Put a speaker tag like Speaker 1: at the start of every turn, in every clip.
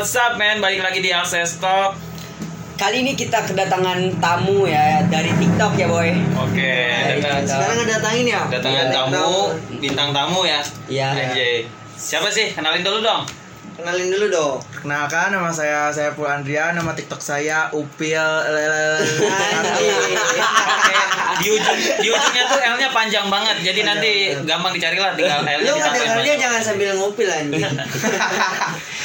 Speaker 1: up men, balik lagi di Access Talk
Speaker 2: Kali ini kita kedatangan tamu ya dari TikTok ya boy.
Speaker 1: Oke,
Speaker 2: Hai.
Speaker 1: dengan
Speaker 3: Sekarang ngedatangin ya?
Speaker 1: kedatangan
Speaker 2: Iya,
Speaker 1: tamu, bintang tamu ya
Speaker 2: Iya.
Speaker 1: Anjay Siapa sih? Kenalin dulu dong
Speaker 3: Kenalin dulu dong.
Speaker 4: Kenalkan nama saya saya Pul Andria, nama TikTok saya Upil
Speaker 1: Oke, di ujung di ujungnya tuh L-nya panjang banget Jadi nanti
Speaker 4: iya.
Speaker 1: gampang dicari lah tinggal L-nya
Speaker 3: Lu
Speaker 1: ditambahin
Speaker 3: ngedengarnya
Speaker 1: banyak.
Speaker 3: jangan sambil ngupil anjing.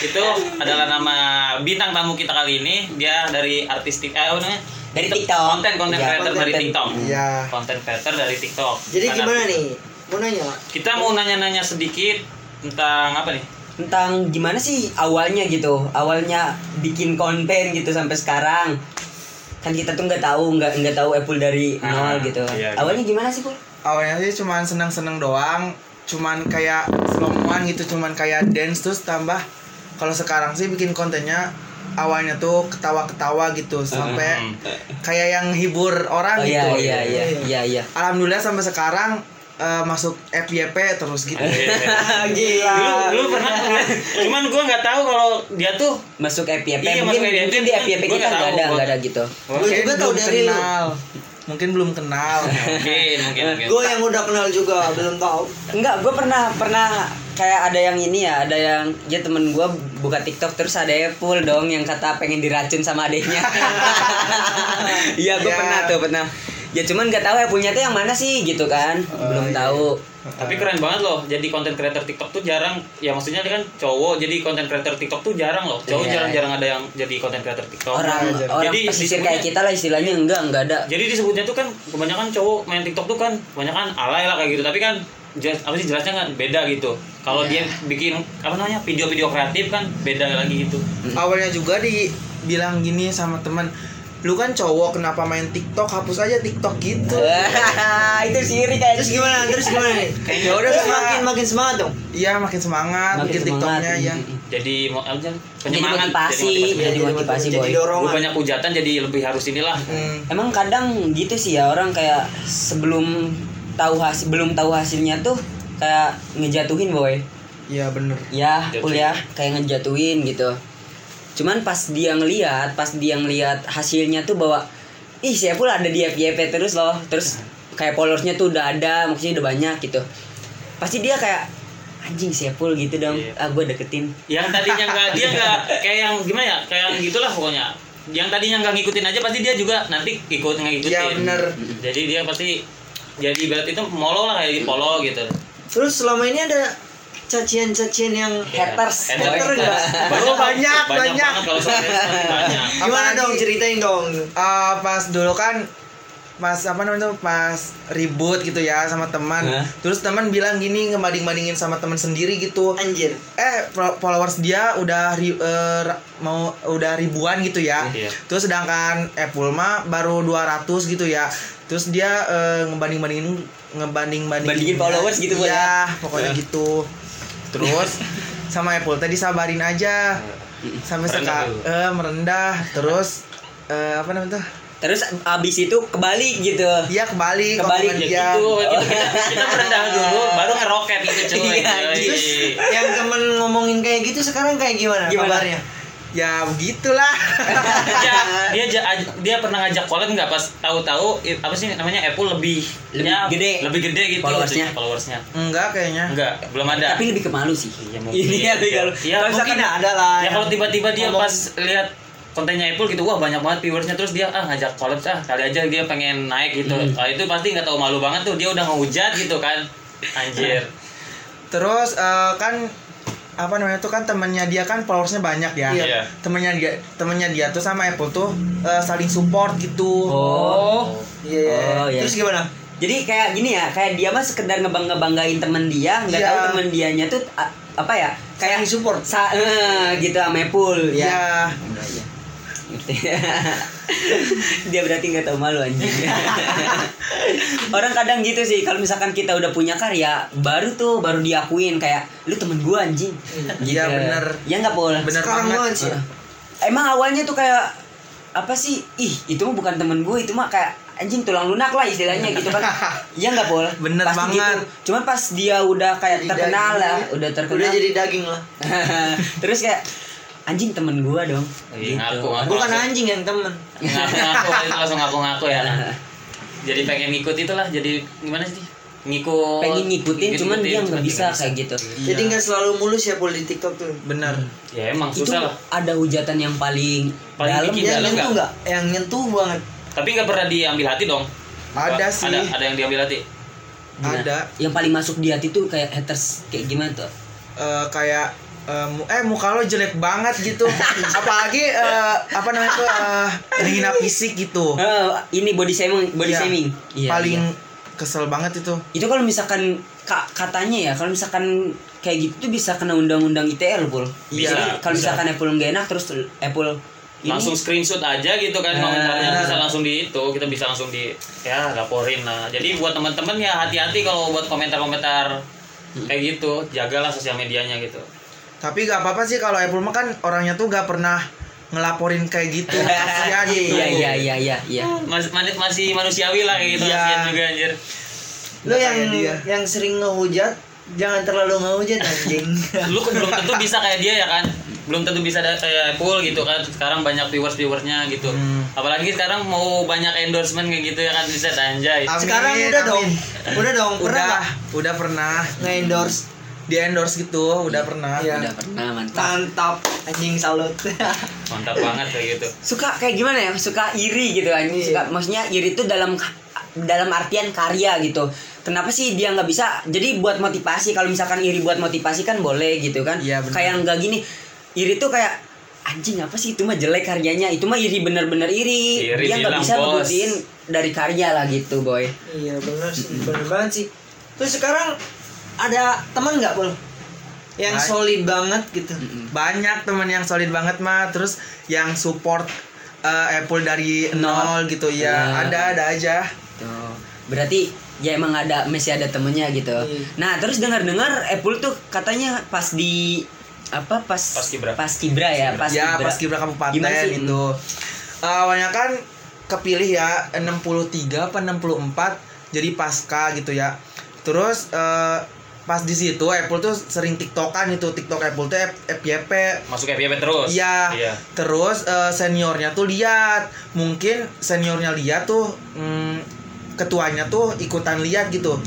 Speaker 1: Itu adalah nama bintang tamu kita kali ini Dia dari artistik, eh apa namanya?
Speaker 2: Dari TikTok.
Speaker 1: Konten, konten
Speaker 2: Iya,
Speaker 1: creator dari
Speaker 3: konten.
Speaker 1: TikTok
Speaker 4: Iya.
Speaker 1: Konten creator dari TikTok
Speaker 3: Jadi
Speaker 1: Bukan
Speaker 3: gimana
Speaker 1: artis.
Speaker 2: Iya.
Speaker 3: nih? Mau nanya?
Speaker 1: Kita mau nanya-nanya sedikit tentang apa nih?
Speaker 2: Tentang gimana sih awalnya gitu, awalnya bikin konten gitu sampai sekarang. Kan kita tuh nggak tahu, nggak nggak tahu Apple dari
Speaker 1: Ah,
Speaker 2: nol gitu.
Speaker 1: iya,
Speaker 2: awalnya gimana sih Pul?
Speaker 4: Awalnya sih cuman seneng-seneng doang, cuman kayak selomuan gitu, cuman kayak dance terus tambah. Kalau sekarang sih bikin kontennya awalnya tuh ketawa-ketawa gitu sampai kayak yang hibur orang
Speaker 1: Ah,
Speaker 2: Oh
Speaker 4: gitu.
Speaker 2: iya iya iya iya iya.
Speaker 4: Alhamdulillah sampai sekarang eh, masuk FYP terus gitu.
Speaker 1: Iya.
Speaker 2: Gila.
Speaker 1: Lu lu pernah ya. cuman gua nggak tahu kalau dia tuh
Speaker 2: Masuk FYP
Speaker 1: Iya, masuk
Speaker 2: mungkin,
Speaker 1: FYP.
Speaker 2: mungkin di FYP
Speaker 1: Gua
Speaker 2: kita
Speaker 1: nggak
Speaker 2: nggak
Speaker 1: tahu,
Speaker 2: ada
Speaker 1: gua.
Speaker 2: nggak ada gitu.
Speaker 3: Gua juga
Speaker 4: Mungkin
Speaker 3: tahu
Speaker 4: belum
Speaker 3: dari lu.
Speaker 4: kenal. Mungkin belum kenal.
Speaker 1: mungkin mungkin mungkin.
Speaker 3: Gue yang udah kenal juga belum tahu.
Speaker 2: Enggak, gue pernah pernah kayak ada yang ini ya, ada yang ya temen gue buka TikTok terus ada Apple dong yang kata pengen diracun sama adiknya. Iya, gue
Speaker 4: Ya.
Speaker 2: pernah tuh pernah. Ya cuman nggak tahu Apple-nya tuh yang mana sih gitu kan, belum
Speaker 4: iya.
Speaker 2: tahu.
Speaker 1: Tapi keren banget loh jadi konten creator TikTok tuh jarang ya maksudnya dia kan cowok jadi konten creator TikTok tuh jarang loh. Cowok
Speaker 2: Iya,
Speaker 1: jarang-jarang ada yang jadi konten creator TikTok.
Speaker 2: Orang orang
Speaker 1: Jadi
Speaker 2: pesisir
Speaker 1: disebutnya-
Speaker 2: kayak kita lah istilahnya enggak enggak ada.
Speaker 1: Jadi disebutnya tuh kan kebanyakan cowok main TikTok tuh kan kebanyakan alay lah kayak gitu. Tapi kan jelas apa sih jelasnya kan beda gitu. Kalau dia bikin apa namanya video-video kreatif kan beda lagi gitu.
Speaker 4: awalnya juga dibilang gini sama teman lu kan cowok kenapa main TikTok hapus aja TikTok gitu
Speaker 2: itu sirik kayak
Speaker 3: Terus gimana? Terus gimana nih?
Speaker 4: ya udah
Speaker 3: Terus
Speaker 4: sama-
Speaker 3: makin makin semangat dong.
Speaker 4: iya makin semangat
Speaker 2: Makin
Speaker 4: makin
Speaker 2: semangat.
Speaker 4: TikToknya ya
Speaker 1: Jadi mau apa sih?
Speaker 2: Jadi
Speaker 1: Penyemangat ya.
Speaker 2: motivasi, Iya,
Speaker 1: Jadi
Speaker 2: jadi motivasi
Speaker 3: Jadi
Speaker 2: boy.
Speaker 1: Gue
Speaker 3: dorongan.
Speaker 1: banyak hujatan jadi lebih harus inilah.
Speaker 4: Hmm.
Speaker 2: Emang kadang gitu sih ya orang kayak sebelum tahu hasil belum tahu hasilnya tuh kayak ngejatuhin boy.
Speaker 4: iya bener
Speaker 2: ya
Speaker 1: Jatuh.
Speaker 2: kuliah kayak ngejatuhin gitu cuman pas dia ngeliat pas dia ngeliat hasilnya tuh bahwa ih saya pula ada di FYP terus loh terus kayak followersnya tuh udah ada maksudnya udah banyak gitu pasti dia kayak anjing sepul gitu dong
Speaker 1: Iya.
Speaker 2: ah gue deketin
Speaker 1: Yang tadinya nggak dia nggak kayak yang gimana ya kayak yang gitulah pokoknya. Yang tadinya nggak ngikutin aja pasti dia juga nanti ikut ngikutin.
Speaker 4: Iya, bener.
Speaker 1: Jadi dia pasti jadi ibarat itu molo lah kayak di polo gitu.
Speaker 3: Terus selama ini ada cacian-cacian yang
Speaker 2: Haters.
Speaker 1: Iya. Haters.
Speaker 3: Hater nggak?
Speaker 1: Banyak,
Speaker 4: Oh, banyak,
Speaker 1: banyak.
Speaker 4: banyak.
Speaker 1: banget kalau soal haters, banyak.
Speaker 3: Gimana
Speaker 4: Apalagi-
Speaker 3: dong ceritain dong.
Speaker 4: Eh, pas dulu kan pas apa namanya tuh, pas ribut gitu ya sama teman
Speaker 2: Hah?
Speaker 4: terus teman bilang gini ngebanding bandingin sama teman sendiri gitu
Speaker 3: Anjir.
Speaker 4: eh fol- followers dia udah ri- eh, ra- mau udah ribuan gitu ya.
Speaker 1: Iya.
Speaker 4: Terus sedangkan Apple mah baru 200 gitu ya. Terus dia eh, ngebanding-bandingin ngebanding-bandingin
Speaker 2: Bandingin followers gitu, Bu,
Speaker 4: ya. pokoknya gitu. Terus sama Apple tadi sabarin aja.
Speaker 2: Iya.
Speaker 4: Sampai
Speaker 1: Merendah
Speaker 4: sekarang
Speaker 1: dulu.
Speaker 4: eh, merendah terus eh, apa namanya tuh?
Speaker 2: terus abis itu kebalik gitu
Speaker 4: Iya kebalik
Speaker 2: Kebalik,
Speaker 4: omongan
Speaker 1: Ya
Speaker 4: dia.
Speaker 1: gitu, kita, kita, kita merendah dulu, baru ngeroket gitu cuy.
Speaker 2: Iya,
Speaker 1: Yoi.
Speaker 2: terus
Speaker 3: Yang temen ngomongin kayak gitu sekarang kayak gimana,
Speaker 2: Gimana?
Speaker 3: kabarnya?
Speaker 4: Ya begitulah.
Speaker 1: dia dia ja- aj- dia pernah ngajak collab nggak pas tahu-tahu i- apa sih namanya Apple lebih
Speaker 2: Lebih
Speaker 1: ya,
Speaker 2: gede.
Speaker 1: lebih gede gitu
Speaker 2: Followersnya.
Speaker 1: followersnya
Speaker 4: Enggak kayaknya.
Speaker 1: enggak belum ada
Speaker 2: tapi lebih ke malu sih
Speaker 1: Iya, mungkin.
Speaker 2: ini ya lebih kalau
Speaker 1: Iya,
Speaker 2: kalau
Speaker 3: Mungkin
Speaker 2: misalkan-
Speaker 3: ada lah.
Speaker 1: ya
Speaker 3: yang
Speaker 1: kalau tiba-tiba dia
Speaker 3: ngomong-
Speaker 1: pas lihat kontennya Apple gitu wah banyak banget viewersnya terus dia ah ngajak collab ah kali aja dia pengen naik gitu
Speaker 2: Hmm.
Speaker 1: Ah, itu pasti nggak tahu malu banget tuh dia udah ngehujat gitu kan
Speaker 2: Nah,
Speaker 1: anjir
Speaker 4: Terus eh, kan apa namanya tuh kan temennya dia kan followersnya banyak ya.
Speaker 1: Iya.
Speaker 4: Temennya dia temennya dia tuh sama Apple tuh eh, saling support gitu.
Speaker 2: oh Oh,
Speaker 3: Iya.
Speaker 2: iya.
Speaker 3: Terus gimana?
Speaker 2: Jadi kayak gini ya, kayak dia mah sekedar ngebangga banggain temen dia, nggak
Speaker 4: Iya.
Speaker 2: tahu temen dianya tuh a- apa ya, kayak
Speaker 3: Saling support.
Speaker 2: sa eh, gitu sama Epul ya. Gitu.
Speaker 4: Ya.
Speaker 2: dia berarti nggak tahu malu anjing. Orang kadang gitu sih, kalau misalkan kita udah punya karya, baru tuh baru diakuin kayak lu temen gua anjing.
Speaker 4: Iya, bener.
Speaker 2: Ya nggak boleh.
Speaker 4: Bener
Speaker 3: Sekarang
Speaker 4: banget.
Speaker 3: banget sih.
Speaker 2: Emang awalnya tuh kayak apa sih? Ih, itu mah bukan temen gue, itu mah kayak anjing tulang lunak lah istilahnya gitu kan. Iya nggak boleh.
Speaker 4: Bener
Speaker 2: Pasti
Speaker 4: banget.
Speaker 2: Gitu. Cuman pas dia udah kayak
Speaker 3: Jadi
Speaker 2: terkenal
Speaker 3: daging.
Speaker 2: lah, udah terkenal.
Speaker 3: Udah jadi daging lah.
Speaker 2: Terus kayak anjing temen gua dong Gitu.
Speaker 1: Iya, ngaku, ngaku.
Speaker 3: Bukan
Speaker 4: kan
Speaker 1: Langsung.
Speaker 3: anjing yang temen.
Speaker 1: ngaku-ngaku kali itu langsung ngaku-ngaku ya
Speaker 2: Nah.
Speaker 1: jadi pengen ngikut itulah jadi gimana sih ngikut
Speaker 2: pengen ngikutin cuman dia
Speaker 1: Oh, cuman
Speaker 2: nggak bisa kayak gitu
Speaker 3: Jadi
Speaker 4: Iya.
Speaker 3: nggak selalu mulus ya pul di TikTok tuh.
Speaker 4: bener
Speaker 1: ya emang
Speaker 2: itu
Speaker 1: susah lah
Speaker 2: ada hujatan yang paling,
Speaker 1: Paling
Speaker 2: dalam
Speaker 1: bikin
Speaker 3: Yang
Speaker 1: dalam
Speaker 3: nyentuh
Speaker 1: nggak?
Speaker 3: nggak? Yang nyentuh banget.
Speaker 1: tapi nggak pernah diambil hati dong
Speaker 4: Ada
Speaker 1: Apa-
Speaker 4: sih.
Speaker 1: ada ada yang diambil hati
Speaker 2: Nah,
Speaker 4: ada
Speaker 2: yang paling masuk di hati tuh kayak haters kayak gimana tuh
Speaker 4: eh, kayak eh, mu- eh muka lo jelek banget gitu apalagi eh, apa namanya tuh eh, menghina fisik gitu
Speaker 2: Eh, ini body shaming body
Speaker 4: Iya.
Speaker 2: shaming Iya,
Speaker 4: paling
Speaker 2: iya.
Speaker 4: kesel banget itu
Speaker 2: itu kalau misalkan ka- katanya ya kalau misalkan kayak gitu tuh bisa kena undang-undang ITE loh pul
Speaker 1: Iya, Bisa,
Speaker 2: Jadi, kalau
Speaker 1: bisa.
Speaker 2: misalkan Apple nggak enak terus Apple ini
Speaker 1: langsung screenshot aja gitu kan
Speaker 2: Nah.
Speaker 1: komentarnya bisa langsung di itu kita bisa langsung di ya laporin lah jadi buat teman-teman ya hati-hati kalau buat komentar-komentar
Speaker 2: Hmm.
Speaker 1: kayak gitu jagalah sosial medianya gitu
Speaker 4: tapi gak apa-apa sih kalau Apple mah kan orangnya tuh gak pernah ngelaporin kayak gitu kasihan gitu
Speaker 2: iya iya iya iya iya
Speaker 1: Mas- man- masih manusiawi lah kayak gitu
Speaker 4: Iya.
Speaker 1: kasihan juga anjir
Speaker 3: Lo
Speaker 4: Nggak
Speaker 3: yang
Speaker 4: kayak dia.
Speaker 3: yang sering ngehujat, jangan terlalu ngehujat anjing.
Speaker 1: lu kan belum tentu bisa kayak dia ya kan belum tentu bisa da- kayak Apple gitu kan sekarang banyak viewers viewersnya gitu
Speaker 2: Hmm.
Speaker 1: apalagi sekarang mau banyak endorsement kayak gitu ya kan bisa anjay
Speaker 4: Amin,
Speaker 3: Sekarang udah
Speaker 4: amin.
Speaker 3: dong. Udah dong, pernah
Speaker 4: udah
Speaker 3: nggak
Speaker 4: udah pernah
Speaker 3: nge-endorse?
Speaker 4: di endorse gitu udah pernah
Speaker 3: Iya.
Speaker 2: udah pernah mantap
Speaker 3: Mantap, anjing salut.
Speaker 1: mantap banget kayak gitu
Speaker 2: suka kayak gimana ya suka iri gitu anjing
Speaker 3: Iya.
Speaker 2: suka maksudnya iri itu dalam dalam artian karya gitu kenapa sih dia nggak bisa jadi buat motivasi kalau misalkan iri buat motivasi kan boleh gitu kan
Speaker 4: Iya, benar.
Speaker 2: kayak nggak gini iri tuh kayak anjing apa sih itu mah jelek karyanya itu mah iri bener-bener iri,
Speaker 1: Iri
Speaker 2: dia nggak
Speaker 1: bilang,
Speaker 2: bisa
Speaker 1: "Bos."
Speaker 2: ngebuktiin dari karya lah gitu boy
Speaker 3: iya benar sih, benar banget sih. Terus sekarang ada teman nggak pul? Yang
Speaker 4: Baik.
Speaker 3: solid banget gitu.
Speaker 4: Mm. banyak teman yang solid banget mah terus yang support eh, Apple dari
Speaker 2: Nol.
Speaker 4: nol gitu
Speaker 2: Iya.
Speaker 4: ya ada ada aja
Speaker 2: Tuh. Berarti ya emang ada masih ada temennya gitu.
Speaker 3: Iya.
Speaker 2: Nah terus dengar-dengar Apple tuh katanya pas di apa pas
Speaker 1: Paskibra.
Speaker 2: paskibra ya pas
Speaker 4: ya pas kibra kabupaten
Speaker 2: Gimana sih?
Speaker 4: gitu Eh, awalnya kan kepilih ya 63 apa 64 jadi pasca gitu ya terus eh, pas di situ Apple tuh sering tiktokan itu tiktok Apple tuh F- FYP
Speaker 1: masuk FYP terus
Speaker 4: Iya.
Speaker 1: iya
Speaker 4: Terus eh, seniornya tuh lihat, mungkin seniornya lihat tuh mm, ketuanya tuh ikutan lihat gitu.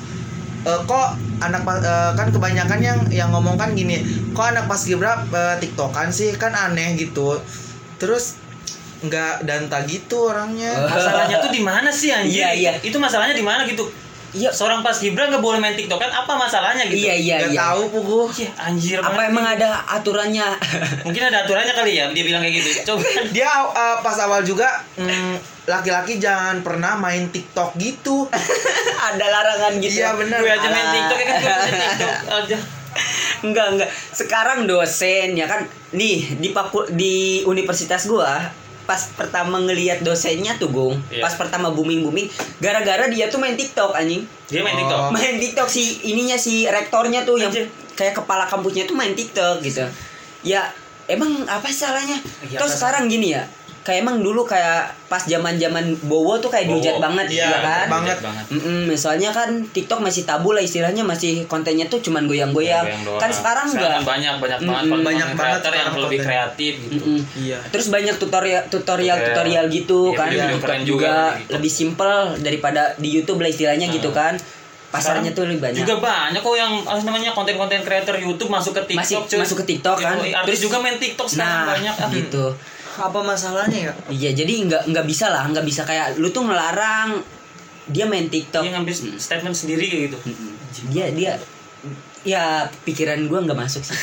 Speaker 4: Eh, kok anak pas- eh, kan kebanyakan yang yang ngomong kan gini, kok anak pas Gibra eh, tiktokan sih kan aneh gitu. Terus nggak danta gitu orangnya.
Speaker 1: masalahnya tuh di mana sih anjir
Speaker 2: Iya, iya.
Speaker 1: itu masalahnya di mana gitu
Speaker 2: Iya.
Speaker 1: seorang pas Gibran nggak boleh main TikTok kan apa masalahnya gitu
Speaker 2: Iya iya
Speaker 4: nggak
Speaker 2: iya.
Speaker 4: tahu pugu.
Speaker 1: Iya, anjir
Speaker 2: Apa
Speaker 1: banget.
Speaker 2: emang ada aturannya?
Speaker 1: mungkin ada aturannya kali ya dia bilang kayak gitu coba
Speaker 4: Dia eh, pas awal juga mm, laki-laki jangan pernah main TikTok gitu.
Speaker 2: ada larangan gitu.
Speaker 4: Iya, benar.
Speaker 1: gue aja main
Speaker 2: Alah.
Speaker 1: TikTok ya kan gue main TikTok aja
Speaker 2: Enggak enggak. Sekarang dosen ya kan. Nih di Papua di universitas gua pas pertama ngelihat dosennya tuh Gung,
Speaker 1: Iya.
Speaker 2: pas pertama booming booming, gara-gara dia tuh main TikTok anjing.
Speaker 1: dia main TikTok
Speaker 4: Oh.
Speaker 2: main TikTok si ininya si rektornya tuh yang
Speaker 1: Anjir.
Speaker 2: kayak kepala kampusnya tuh main TikTok gitu. Ya emang apa salahnya?
Speaker 1: Iya,
Speaker 2: Terus
Speaker 1: apa-
Speaker 2: sekarang gini ya, kayak emang dulu kayak pas zaman-zaman Bowo tuh kayak
Speaker 1: Bowo.
Speaker 2: dihujat banget
Speaker 4: Iya,
Speaker 2: ya kan?
Speaker 4: banget.
Speaker 2: Mm-mm, soalnya kan TikTok masih tabu lah istilahnya masih kontennya tuh cuman goyang-goyang.
Speaker 1: Goyang doang.
Speaker 2: kan sekarang
Speaker 1: banyak
Speaker 2: enggak.
Speaker 1: banyak banget
Speaker 2: Mm-mm.
Speaker 1: konten
Speaker 4: Banyak banget
Speaker 1: kreator yang
Speaker 4: sekarang
Speaker 1: lebih
Speaker 4: konten.
Speaker 1: kreatif gitu
Speaker 2: Mm-mm.
Speaker 4: Iya.
Speaker 2: Terus banyak tutorial tutorial tutorial
Speaker 1: Iya.
Speaker 2: gitu
Speaker 1: Iya,
Speaker 2: kan
Speaker 1: video-video
Speaker 2: di TikTok
Speaker 1: keren juga gitu.
Speaker 2: juga,
Speaker 1: di TikTok.
Speaker 2: lebih simple daripada di YouTube lah istilahnya gitu kan. Pasarnya tuh lebih banyak.
Speaker 1: Nah. juga banyak kok yang apa namanya konten-konten kreator YouTube masuk ke TikTok
Speaker 2: Masih-
Speaker 1: cuy.
Speaker 2: masuk ke TikTok kan.
Speaker 1: Yoi, artis
Speaker 2: Terus-
Speaker 1: juga main TikTok sekarang
Speaker 2: nah,
Speaker 1: banyak ah.
Speaker 2: gitu.
Speaker 3: Apa masalahnya ya?
Speaker 2: Iya, jadi nggak nggak bisa lah, nggak bisa kayak lu tuh ngelarang dia main TikTok.
Speaker 1: dia ngambil statement sendiri kayak gitu
Speaker 2: Dia dia ya pikiran gua nggak masuk sih.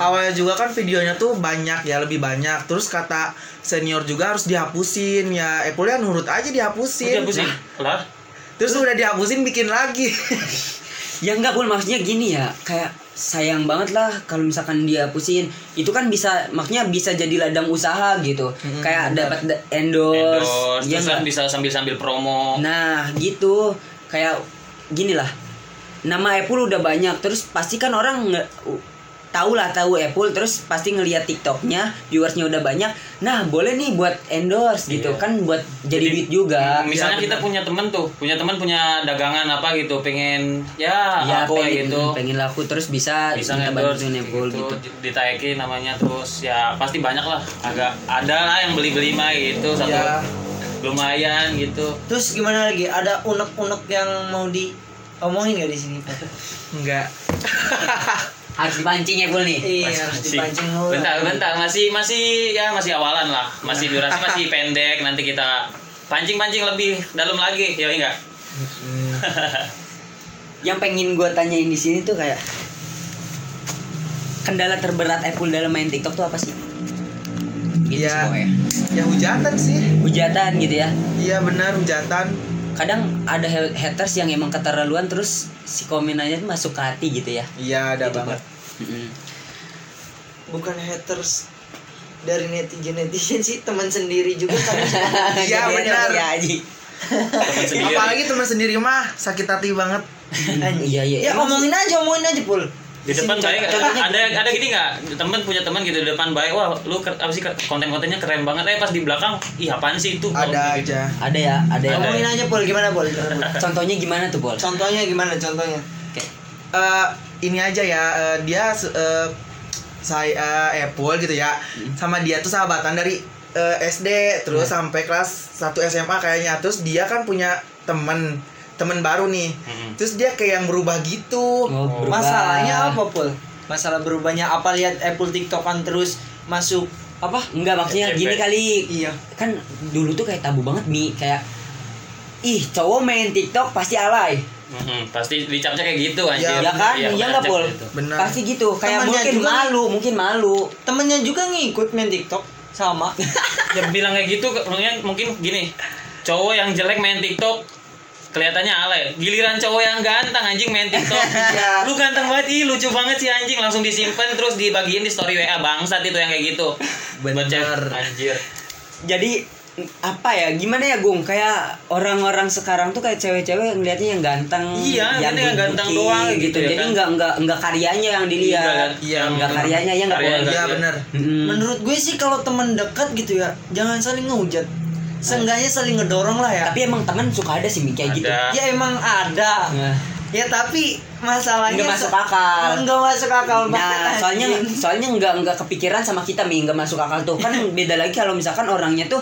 Speaker 4: awalnya juga kan videonya tuh banyak ya lebih banyak terus kata senior juga harus dihapusin ya Apple ya nurut aja
Speaker 1: udah
Speaker 4: dihapusin Nah,
Speaker 1: pusing lah
Speaker 4: terus udah dihapusin bikin lagi
Speaker 2: ya nggak pun maksudnya gini ya, kayak sayang banget lah kalau misalkan dia pusing itu kan bisa maksudnya bisa jadi ladang usaha gitu kayak dapat da- endorse,
Speaker 1: endorse
Speaker 2: ya
Speaker 1: terus kan
Speaker 2: nggak?
Speaker 1: bisa sambil sambil promo
Speaker 2: Nah gitu kayak gini lah nama Apple udah banyak terus pasti kan orang nge- u- tahu lah tahu Apple terus pasti ngelihat TikToknya viewersnya udah banyak nah boleh nih buat endorse gitu
Speaker 1: Iya.
Speaker 2: kan buat jadi duit juga
Speaker 1: Hmm, misalnya
Speaker 4: Ya,
Speaker 1: kita
Speaker 4: benar.
Speaker 1: punya temen tuh punya temen punya dagangan apa gitu pengen ya,
Speaker 2: ya
Speaker 1: aku
Speaker 2: pengen,
Speaker 1: kayak gitu
Speaker 2: pengen laku terus bisa
Speaker 1: bisa
Speaker 2: kita
Speaker 1: ngendorse
Speaker 2: bantuin Apple
Speaker 1: gitu,
Speaker 2: gitu
Speaker 1: ditaekin namanya terus ya pasti banyak lah agak ada lah yang beli beli mah gitu satu
Speaker 4: Ya.
Speaker 3: Iya.
Speaker 1: lumayan gitu
Speaker 3: Terus gimana lagi? Ada unek-unek yang mau diomongin gak di sini? Pak?
Speaker 4: Enggak.
Speaker 2: harus dipancing Apple nih
Speaker 3: Iya, harus dipancing dulu.
Speaker 1: bentar bentar masih masih ya masih awalan lah masih
Speaker 2: Iya.
Speaker 1: durasi masih pendek nanti kita pancing pancing lebih dalam lagi ya enggak
Speaker 2: yang pengen gue tanyain di sini tuh kayak kendala terberat Apple dalam main TikTok tuh apa sih? Gitu
Speaker 4: Iya.
Speaker 2: sih pokoknya.
Speaker 4: Ya hujatan sih.
Speaker 2: Hujatan gitu ya.
Speaker 4: Iya benar hujatan.
Speaker 2: Kadang ada he- haters yang emang keterlaluan terus si komenannya tuh masuk ke hati gitu ya.
Speaker 4: Iya ada
Speaker 2: Gitu,
Speaker 4: banget.
Speaker 2: Mm-mm.
Speaker 3: Bukan haters dari netizen netizen sih teman sendiri juga kan
Speaker 4: Iya,
Speaker 2: Jadi ada
Speaker 4: benar.
Speaker 2: Ya Haji.
Speaker 1: teman sendiri
Speaker 4: Apalagi teman sendiri mah sakit hati banget.
Speaker 2: Iya iya.
Speaker 3: ya
Speaker 2: Emang
Speaker 3: omongin aja omongin aja pul
Speaker 1: di depan
Speaker 3: Sini,
Speaker 1: baik
Speaker 3: contohnya
Speaker 1: ada ada gini nggak temen punya teman gitu di depan baik wah lu ker- apa sih ker- konten-kontennya keren banget eh pas di belakang ih apaan sih itu
Speaker 4: Ada aja.
Speaker 2: ada ya, ada ya.
Speaker 1: Ada.
Speaker 3: omongin aja pul gimana pul Gimana, Pul?
Speaker 2: Contohnya gimana tuh, Bol?
Speaker 3: contohnya gimana contohnya
Speaker 4: Eh, ini aja ya eh, dia se- eh, saya eh, Apple gitu ya sama dia tuh sahabatan dari eh, SD terus sampai kelas 1 SMA kayaknya terus dia kan punya temen temen baru nih
Speaker 1: Mm-mm.
Speaker 4: terus dia kayak yang berubah gitu
Speaker 2: Oh, berubah.
Speaker 3: masalahnya apa pul masalah berubahnya apa lihat Apple tiktokan terus masuk
Speaker 2: Apa? Enggak maksudnya
Speaker 1: Efek.
Speaker 2: gini kali.
Speaker 3: iya
Speaker 2: Kan dulu tuh kayak tabu banget Mi, kayak ih cowok main TikTok pasti alay.
Speaker 1: Mm-mm, pasti dicapnya kayak gitu anjir
Speaker 2: Ya kan?
Speaker 1: Iya,
Speaker 2: Iya nggak, Pol?
Speaker 1: gitu.
Speaker 4: benar
Speaker 2: Pasti gitu, kayak
Speaker 3: Temennya
Speaker 2: mungkin
Speaker 3: juga
Speaker 2: malu, mungkin malu.
Speaker 3: temennya juga ngikut main tiktok sama
Speaker 1: ya bilang kayak gitu mungkin mungkin gini cowok yang jelek main TikTok kelihatannya alay giliran cowok yang ganteng anjing main TikTok
Speaker 2: Iya.
Speaker 1: lu ganteng banget ih lucu banget sih anjing langsung disimpan terus dibagiin di story WA bangsat itu yang kayak gitu
Speaker 4: Bener.
Speaker 1: Bocah, anjir
Speaker 2: Jadi apa ya gimana ya Gung kayak orang-orang sekarang tuh kayak cewek-cewek ngelihatnya yang ganteng
Speaker 1: Iya,
Speaker 2: yang
Speaker 1: ngeliatnya yang ganteng
Speaker 2: digebukin
Speaker 1: doang gitu ya
Speaker 2: jadi
Speaker 1: kan?
Speaker 2: nggak nggak nggak karyanya yang dilihat
Speaker 4: Iya,
Speaker 2: nggak karyanya ya nggak
Speaker 1: Karyanya
Speaker 2: boleh
Speaker 1: nggak
Speaker 4: ya
Speaker 1: Iya.
Speaker 4: benar
Speaker 2: Mm-mm.
Speaker 3: menurut gue sih kalau temen dekat gitu ya jangan saling ngehujat seenggaknya saling ngedorong lah ya
Speaker 2: tapi emang temen suka ada sih Mi, kayak gitu
Speaker 1: Ada.
Speaker 3: ya emang ada
Speaker 2: Nah,
Speaker 3: ya tapi masalahnya
Speaker 2: nggak masuk akal
Speaker 3: nggak masuk akal banget
Speaker 2: Nah, soalnya
Speaker 3: anjing.
Speaker 2: soalnya nggak nggak kepikiran sama kita mi nggak masuk akal tuh kan beda lagi kalau misalkan orangnya tuh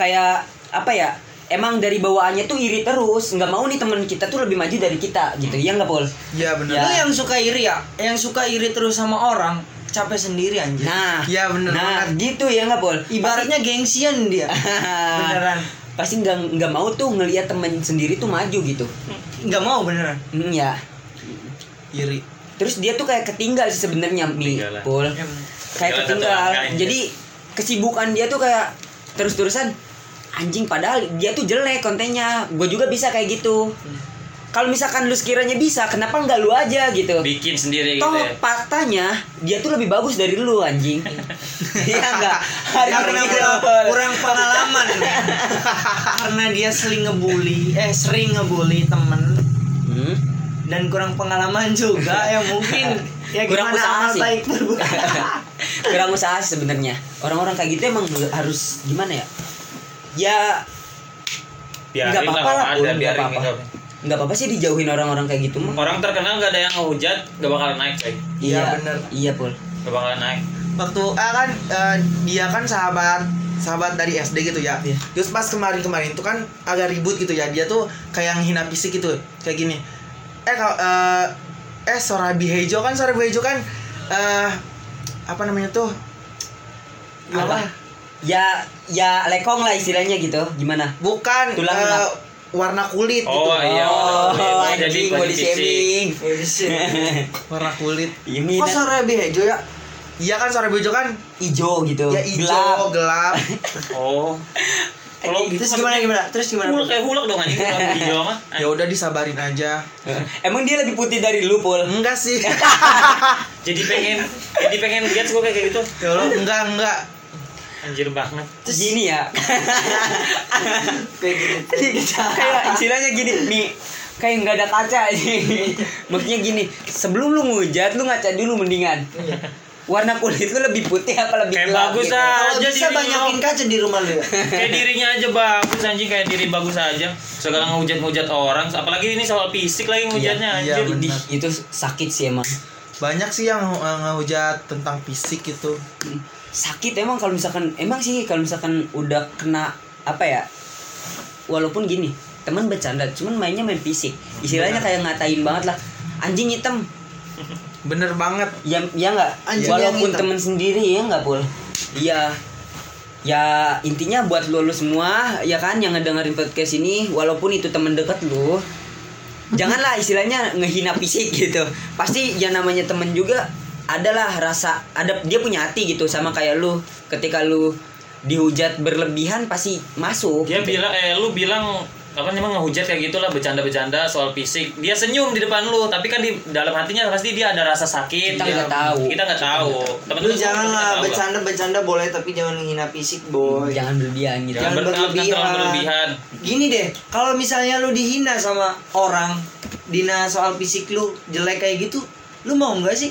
Speaker 2: kayak apa ya emang dari bawaannya tuh iri terus nggak mau nih teman kita tuh lebih maju dari kita gitu ya nggak pol
Speaker 4: ya benar
Speaker 2: Ya.
Speaker 3: Lu yang suka iri ya yang suka iri terus sama orang capek sendiri anjir
Speaker 2: nah
Speaker 4: Iya, bener
Speaker 2: nah gitu ya nggak pol
Speaker 3: ibaratnya gengsian dia beneran
Speaker 2: pasti nggak nggak mau tuh ngelihat temen sendiri tuh maju gitu
Speaker 3: nggak mau beneran
Speaker 2: Hmm, ya
Speaker 4: iri
Speaker 2: terus dia tuh kayak ketinggal sih sebenarnya mi
Speaker 1: Ketinggalan.
Speaker 2: pol
Speaker 3: Iya,
Speaker 2: kayak
Speaker 1: Ketinggalan satu
Speaker 2: ketinggal
Speaker 1: langkah, anjir.
Speaker 2: jadi kesibukan dia tuh kayak terus terusan anjing padahal dia tuh jelek kontennya gue juga bisa kayak gitu kalau misalkan lu sekiranya bisa kenapa nggak lu aja gitu
Speaker 1: bikin sendiri gitu
Speaker 2: toh
Speaker 1: ya
Speaker 2: faktanya dia tuh lebih bagus dari lu anjing iya enggak harus
Speaker 3: Karena
Speaker 2: begitu,
Speaker 3: kurang,
Speaker 2: Pol.
Speaker 3: kurang pengalaman karena dia sering ngebully eh sering ngebully temen
Speaker 2: Hmm?
Speaker 3: dan kurang pengalaman juga ya mungkin ya
Speaker 2: Kurang
Speaker 3: gimana
Speaker 2: usaha
Speaker 3: amal
Speaker 2: sih.
Speaker 3: baik berbuat
Speaker 2: kurang usaha sih sebenarnya orang-orang kayak gitu emang harus gimana ya ya
Speaker 1: lah,
Speaker 2: nggak apa-apa lah
Speaker 1: ada,
Speaker 2: Pol, nggak
Speaker 1: biarin
Speaker 2: apa-apa
Speaker 1: nggak apa-apa.
Speaker 2: nggak apa-apa sih dijauhin orang-orang kayak gitu mah
Speaker 1: orang terkenal nggak ada yang ngehujat nggak bakalan naik coy
Speaker 4: Iya,
Speaker 2: Iya
Speaker 4: bener.
Speaker 2: Iya pul.
Speaker 1: nggak bakalan naik
Speaker 4: waktu ah kan eh, dia kan sahabat sahabat dari SD gitu ya
Speaker 3: Iya.
Speaker 4: terus pas kemarin-kemarin itu kan agak ribut gitu ya dia tuh kayak hina fisik gitu kayak gini eh kalau eh, eh Sorabi Hejo kan Sorabi Hejo kan eh apa namanya tuh Iya
Speaker 2: Apa? Ya ya lekong lah istilahnya gitu. Gimana?
Speaker 4: bukan
Speaker 2: Tulang
Speaker 4: eh,
Speaker 2: tulang.
Speaker 4: warna kulit
Speaker 1: Oh,
Speaker 4: gitu
Speaker 1: iya,
Speaker 2: Oh,
Speaker 1: betul. Jadi
Speaker 2: anjing body
Speaker 1: posisi-
Speaker 2: shaming.
Speaker 4: warna kulit
Speaker 2: Yang
Speaker 3: Kok
Speaker 2: ini
Speaker 3: sore bejo ya?
Speaker 4: iya kan Sorabi Hejo kan
Speaker 2: ijo gitu.
Speaker 3: Oh,
Speaker 4: ya
Speaker 2: Gelap.
Speaker 4: hijau gelap
Speaker 1: oh kalau gitu
Speaker 3: Terus gimana gimana? Terus gimana?
Speaker 1: hulak kayak hulak dong anjing kalau hijau mah
Speaker 4: ya udah disabarin aja
Speaker 2: Emang dia lebih putih dari lu pul.
Speaker 4: enggak sih
Speaker 1: jadi pengen jadi pengen lihat gue kayak gitu
Speaker 4: ya Allah enggak enggak
Speaker 1: anjir banget
Speaker 2: Gini ya.
Speaker 3: Kayak gitu.
Speaker 2: kayak istilahnya gini nih kayak nggak ada kaca sih maksudnya gini sebelum lu ngujat lu ngaca dulu mendingan warna kulit lu lebih putih apa lebih
Speaker 1: Kayak
Speaker 2: gelap
Speaker 1: bagus
Speaker 2: gitu.
Speaker 1: ah.
Speaker 3: Kalau
Speaker 1: Aja
Speaker 3: bisa
Speaker 1: diri
Speaker 3: banyakin
Speaker 1: lo.
Speaker 3: kaca di rumah lu. ya.
Speaker 1: kayak dirinya aja bagus anjing kayak diri bagus aja segala ngehujat-ngehujat orang apalagi ini soal fisik lagi ngehujatnya
Speaker 4: Iya,
Speaker 1: anjing
Speaker 4: bener.
Speaker 2: Ih, itu sakit sih emang
Speaker 4: Banyak sih yang eh, ngehujat tentang fisik itu.
Speaker 2: sakit emang kalau misalkan emang sih kalau misalkan udah kena apa ya walaupun gini teman bercanda cuman mainnya main fisik istilahnya kayak ngatain banget lah anjing hitam
Speaker 4: Bener banget.
Speaker 2: ya ya nggak
Speaker 3: Anjing yang
Speaker 2: walaupun
Speaker 3: hitam.
Speaker 2: teman sendiri ya nggak pul iya ya intinya buat lu, lu semua ya kan yang ngedengerin podcast ini walaupun itu teman dekat lu janganlah istilahnya ngehina fisik gitu pasti yang namanya temen juga adalah rasa ada dia punya hati gitu sama kayak lu ketika lu dihujat berlebihan pasti masuk
Speaker 1: dia bilang eh lu bilang apa namanya ngehujat kayak gitulah bercanda-bercanda soal fisik dia senyum di depan lu tapi kan di dalam hatinya pasti dia ada rasa sakit
Speaker 2: Kita
Speaker 1: Dia-
Speaker 2: nggak tahu.
Speaker 1: kita nggak tahu
Speaker 3: Lu
Speaker 1: teman-teman
Speaker 3: janganlah bercanda-bercanda boleh tapi jangan menghina fisik, boy.
Speaker 2: jangan berlebihan gitu
Speaker 1: jangan
Speaker 3: Jangan
Speaker 1: berlebihan jangan
Speaker 3: berlebihan.
Speaker 1: berlebihan
Speaker 3: Gini deh, kalau misalnya lu dihina sama orang, dina soal fisik lu jelek kayak gitu, lu mau nggak sih?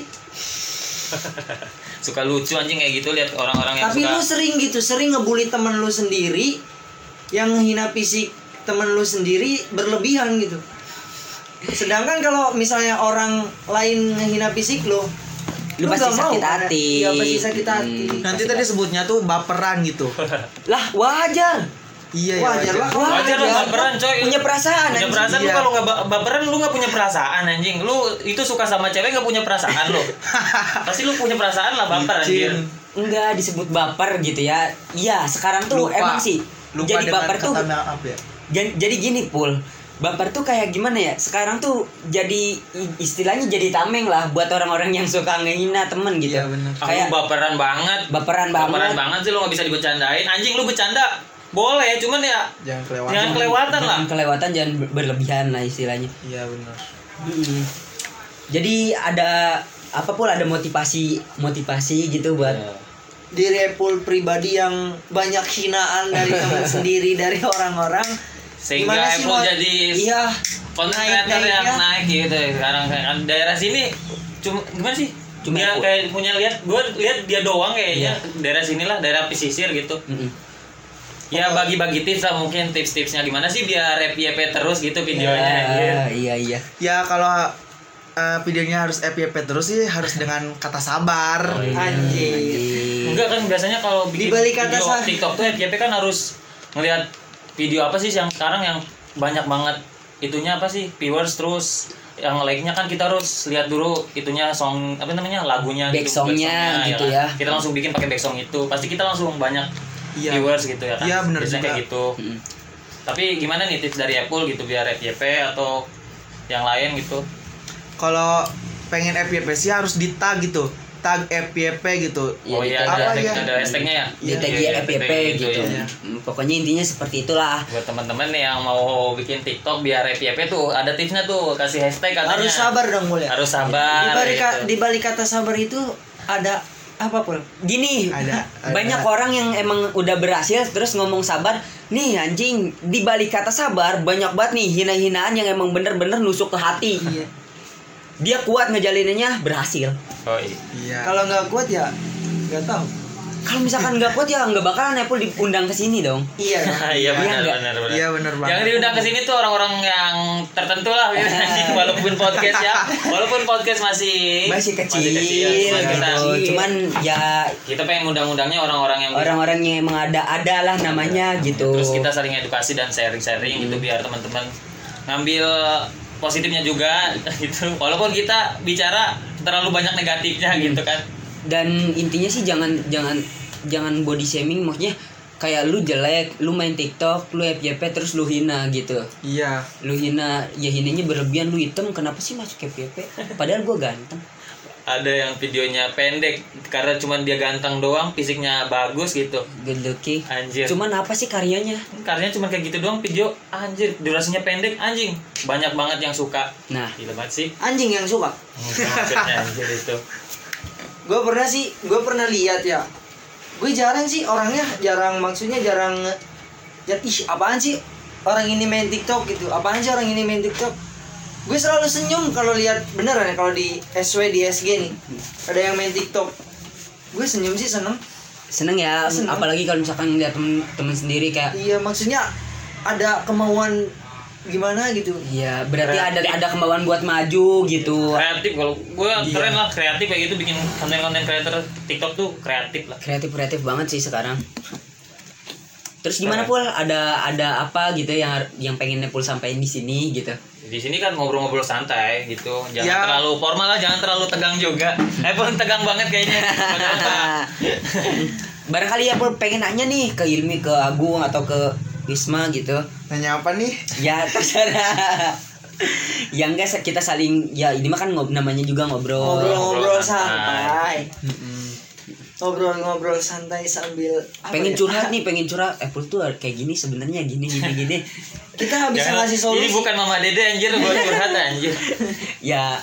Speaker 1: suka lucu anjing kayak gitu lihat orang-orang yang
Speaker 3: Tapi
Speaker 1: suka
Speaker 3: lu sering gitu, sering ngebully temen lu sendiri yang hina fisik temen lu sendiri berlebihan gitu. Sedangkan kalau misalnya orang lain ngehina fisik lu,
Speaker 2: Lu pasti
Speaker 3: nggak mau
Speaker 2: sakit
Speaker 3: kan?
Speaker 2: hati.
Speaker 3: Iya, pasti sakit hati.
Speaker 2: Hmm.
Speaker 4: Nanti tadi sebutnya tuh baperan gitu.
Speaker 2: lah wajar
Speaker 4: Iya ya.
Speaker 3: Wajar lah.
Speaker 1: wajar lah baperan coy
Speaker 2: Iya. punya perasaan
Speaker 1: punya
Speaker 2: anjing.
Speaker 1: perasaan lu
Speaker 4: Iya.
Speaker 1: kalau nggak ba- baperan lu nggak punya perasaan anjing lu itu suka sama cewek nggak punya perasaan lu pasti lu punya perasaan lah baper anjir
Speaker 4: Bucin.
Speaker 2: enggak disebut baper gitu ya iya sekarang tuh
Speaker 4: Lupa.
Speaker 2: emang sih
Speaker 4: Lupa
Speaker 2: jadi
Speaker 4: dengan
Speaker 2: baper tuh
Speaker 4: kata maaf ya.
Speaker 2: jan- jadi gini pul baper tuh kayak gimana ya sekarang tuh jadi i- istilahnya jadi tameng lah buat orang-orang yang suka ngehina temen gitu
Speaker 4: Iya, bener.
Speaker 1: Ah,
Speaker 2: kayak
Speaker 1: lu baperan banget
Speaker 2: baperan banget
Speaker 1: baperan banget sih lu nggak bisa dibecandain anjing lu bercanda boleh cuman ya
Speaker 4: Jangan kelewatan.
Speaker 1: jangan kelewatan lah
Speaker 2: Jangan kelewatan jangan ber- berlebihan lah istilahnya
Speaker 4: Iya benar.
Speaker 2: Mm-mm. jadi ada apa pul ada motivasi motivasi gitu buat
Speaker 1: Iya.
Speaker 3: di repul pribadi yang banyak hinaan dari teman sendiri dari orang-orang
Speaker 1: sehingga
Speaker 3: Gimana sih,
Speaker 1: Apple
Speaker 3: Mon?
Speaker 1: jadi
Speaker 3: iya
Speaker 1: konten
Speaker 3: naik-
Speaker 1: creator yang
Speaker 2: ya.
Speaker 3: naiknya.
Speaker 1: naik gitu sekarang kan daerah sini cuma gimana sih
Speaker 2: Cuma Iya.
Speaker 1: dia
Speaker 2: ikut.
Speaker 1: kayak punya lihat gue lihat dia doang kayaknya daerah sinilah daerah pesisir gitu
Speaker 2: Mm-mm.
Speaker 1: ya bagi-bagi tips lah mungkin tips-tipsnya gimana sih biar rep YP terus gitu videonya Iya.
Speaker 2: Ya, iya iya
Speaker 4: Ya kalau eh, videonya harus FYP terus sih harus dengan kata sabar.
Speaker 1: Oh, iya.
Speaker 3: anjir
Speaker 2: Anjing.
Speaker 1: Enggak kan biasanya kalau bikin
Speaker 3: Di balik kata
Speaker 1: video
Speaker 3: sah-
Speaker 1: TikTok tuh FYP kan harus ngelihat video apa sih yang sekarang yang banyak banget itunya apa sih viewers terus yang like-nya kan kita harus lihat dulu itunya song apa namanya lagunya
Speaker 2: Back songnya
Speaker 1: back
Speaker 2: gitu
Speaker 1: kan.
Speaker 2: ya.
Speaker 1: Kita langsung bikin pakai back song itu. Pasti kita langsung banyak
Speaker 4: Iya.
Speaker 1: viewers gitu ya kan.
Speaker 4: Iya, bener
Speaker 1: Biasanya
Speaker 4: juga.
Speaker 1: kayak gitu.
Speaker 2: Mm-mm.
Speaker 1: Tapi gimana nih tips dari Apple gitu biar FYP atau yang lain gitu.
Speaker 4: Kalau pengen FYP sih harus di tag gitu. Tag FYP gitu.
Speaker 2: Iya,
Speaker 1: oh
Speaker 2: di
Speaker 1: iya
Speaker 4: tag.
Speaker 1: ada,
Speaker 4: Apa
Speaker 1: hashtag-
Speaker 4: ya?
Speaker 1: ada hashtagnya ya.
Speaker 2: di
Speaker 1: Iya,
Speaker 2: TG
Speaker 1: iya,
Speaker 2: FYP gitu.
Speaker 1: ya.
Speaker 2: Mm, Pokoknya intinya seperti itulah.
Speaker 1: buat teman-teman yang mau bikin TikTok biar FYP tuh ada tipsnya tuh kasih hashtag katanya
Speaker 3: harus sabar dong ya. mulia
Speaker 1: harus
Speaker 3: di
Speaker 1: sabar
Speaker 3: balik
Speaker 1: gitu.
Speaker 3: di balik kata sabar itu ada apa pul
Speaker 2: Gini,
Speaker 4: Ada, ada.
Speaker 2: banyak orang yang emang udah berhasil terus ngomong sabar. Nih anjing, di balik kata sabar banyak banget nih hina-hinaan yang emang bener-bener nusuk ke hati.
Speaker 4: Iya.
Speaker 2: Dia kuat ngejalininnya berhasil.
Speaker 1: Oh, iya.
Speaker 4: Iya.
Speaker 3: kalau nggak kuat ya nggak tahu
Speaker 2: Kalau misalkan nggak kuat ya nggak bakalan Apple diundang ke sini dong.
Speaker 3: iya dong.
Speaker 1: iya benar
Speaker 2: nggak?
Speaker 1: benar benar
Speaker 4: Iya benar banget.
Speaker 1: Jangan diundang ke sini tuh orang-orang yang tertentu lah biasanya. walaupun podcast ya. Walaupun podcast masih
Speaker 2: Masih kecil,
Speaker 1: ya. Cuman
Speaker 2: gitu.
Speaker 1: kita,
Speaker 2: Cuman ya
Speaker 1: kita pengen undang-undangnya orang-orang yang
Speaker 2: orang-orang yang emang ada adalah namanya gitu.
Speaker 1: Iya. terus kita saling edukasi dan sharing-sharing gitu biar teman-teman ngambil positifnya juga gitu. Walaupun kita bicara terlalu banyak negatifnya gitu kan.
Speaker 2: dan intinya sih jangan jangan jangan body shaming maksudnya kayak lu jelek lu main tiktok lu FYP terus lu hina gitu
Speaker 4: Iya.
Speaker 2: lu hina ya hinanya berlebihan lu hitam kenapa sih masuk FYP padahal gua ganteng
Speaker 1: ada yang videonya pendek karena cuman dia ganteng doang fisiknya bagus gitu
Speaker 2: good looking
Speaker 1: Anjir.
Speaker 2: cuman apa sih karyanya
Speaker 1: karenanya cuman kayak gitu doang video anjir durasinya pendek anjing banyak banget yang suka
Speaker 2: nah
Speaker 1: gila banget sih
Speaker 3: anjing yang suka
Speaker 1: maksudnya anjir itu
Speaker 3: gue pernah sih gue pernah lihat ya gue jarang sih orangnya jarang maksudnya jarang ya, ih apaan sih orang ini main tiktok gitu apaan sih orang ini main tiktok gue selalu senyum kalau lihat beneran ya kalau di SW di SG nih ada yang main TikTok gue senyum sih seneng
Speaker 2: seneng ya
Speaker 3: Seneng.
Speaker 2: apalagi kalau misalkan lihat temen, temen sendiri kayak
Speaker 3: iya maksudnya ada kemauan gimana gitu
Speaker 2: Iya, berarti ada ada kemauan buat maju gitu.
Speaker 1: kreatif kalau gue keren lah kreatif kayak gitu bikin konten-konten creator TikTok tuh kreatif lah
Speaker 2: Kreatif kreatif banget sih sekarang. Terus gimana pul? Ada ada apa gitu yang yang pengen Nepul sampaikan di sini gitu?
Speaker 1: di sini kan ngobrol-ngobrol santai gitu jangan
Speaker 4: Ya.
Speaker 1: terlalu formal lah jangan terlalu tegang juga eh pun tegang banget kayaknya
Speaker 2: Barangkali ya Pul pengen nanya nih ke Ilmi, ke Agung atau ke Wisma gitu.
Speaker 4: Nanya apa nih?
Speaker 2: Ya terserah. ya enggak sa- kita saling ya ini mah kan ngob, namanya juga ngobrol.
Speaker 3: ngobrol-ngobrol
Speaker 1: ngobrol santai.
Speaker 3: santai ngobrol-ngobrol santai sambil apa
Speaker 2: Pengen
Speaker 3: ya?
Speaker 2: curhat nih, pengen curhat. Eh Pul tuh kayak gini sebenarnya gini gini gini.
Speaker 3: kita Kan bisa
Speaker 1: Jangan-
Speaker 3: ngasih
Speaker 1: ini
Speaker 3: solusi
Speaker 1: bukan mama dede anjir buat curhat anjir
Speaker 2: ya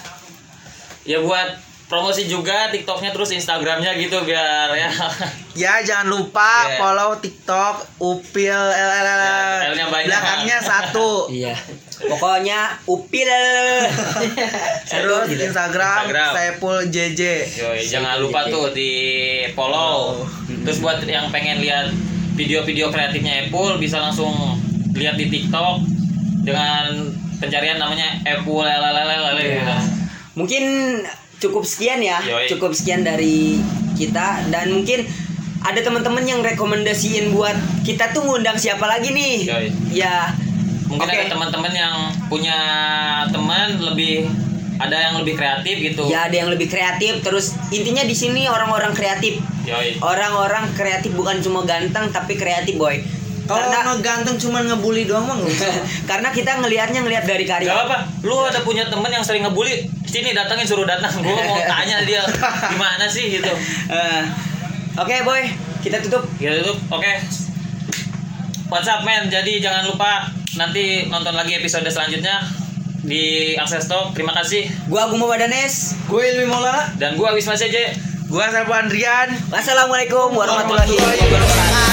Speaker 1: ya buat promosi juga TikToknya terus Instagramnya gitu biar ya
Speaker 4: Ya jangan lupa
Speaker 1: Iya.
Speaker 4: follow TikTok Upil LLL.
Speaker 1: Ya, L-nya banyak.
Speaker 4: Belakangnya satu.
Speaker 2: Iya. Pokoknya upil.
Speaker 4: Terus
Speaker 2: Satu, gitu.
Speaker 4: Instagram,
Speaker 1: Instagram.
Speaker 4: Saiful JJ.
Speaker 1: Yoi, jangan lupa tuh di follow terus buat yang pengen lihat video-video kreatifnya Apple bisa langsung lihat di TikTok dengan pencarian namanya Apple lalalalala gitu.
Speaker 3: Iya.
Speaker 2: Mungkin cukup sekian ya.
Speaker 1: Yoi.
Speaker 2: Cukup sekian dari kita dan mungkin ada teman-teman yang rekomendasiin buat kita tuh ngundang siapa lagi nih?
Speaker 1: Yoi.
Speaker 2: Ya.
Speaker 1: mungkin
Speaker 2: Oke.
Speaker 1: ada teman-teman yang punya teman lebih ada yang lebih kreatif gitu
Speaker 2: Ya ada yang lebih kreatif terus intinya di sini orang-orang kreatif.
Speaker 1: Yoi.
Speaker 2: Orang-orang kreatif bukan cuma ganteng tapi kreatif, boy.
Speaker 3: kalau
Speaker 2: karena
Speaker 3: ngeganteng cuman ngebully doang mah nggak usah.
Speaker 2: karena kita ngelihatnya ngelihat dari
Speaker 1: Gak
Speaker 2: karya.
Speaker 1: apa, lu ada punya temen yang sering ngebully, sini datangin suruh datang, gue mau tanya dia gimana sih gitu.
Speaker 2: Eh, Oke, boy. Kita tutup.
Speaker 1: Gitu tuh, oke. WhatsApp men, jadi jangan lupa nanti nonton lagi episode selanjutnya di Access Talk. Terima kasih.
Speaker 2: Gua Agung Mawadanes.
Speaker 3: gue Ilmi Maulana
Speaker 1: Dan gua Wisma CJ.
Speaker 4: Gua Saiful Andrian.
Speaker 2: Wassalamualaikum warahmatullahi wabarakatuh.